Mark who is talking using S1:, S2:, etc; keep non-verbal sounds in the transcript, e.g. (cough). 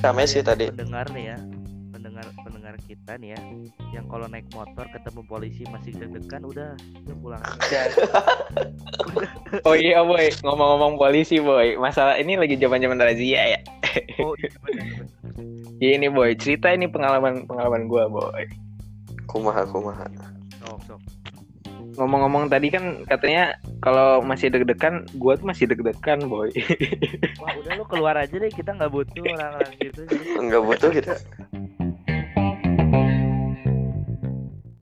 S1: Rame sih
S2: Kalian
S1: tadi.
S2: Pendengar nih ya, pendengar pendengar kita nih ya, yang kalau naik motor ketemu polisi masih deg-degan udah, udah
S1: (laughs)
S2: pulang. aja.
S3: Oh iya boy, ngomong-ngomong polisi boy, masalah ini lagi zaman-zaman razia ya.
S2: Oh, iya bener, bener.
S3: Iya ini boy, cerita ini pengalaman pengalaman gua boy.
S1: Kumaha kumaha.
S2: sok sok.
S3: Ngomong-ngomong tadi kan katanya kalau masih deg-degan, gua tuh masih deg-degan boy.
S2: Wah udah lu keluar aja deh, kita nggak butuh orang-orang gitu. Jadi
S1: Enggak butuh kita.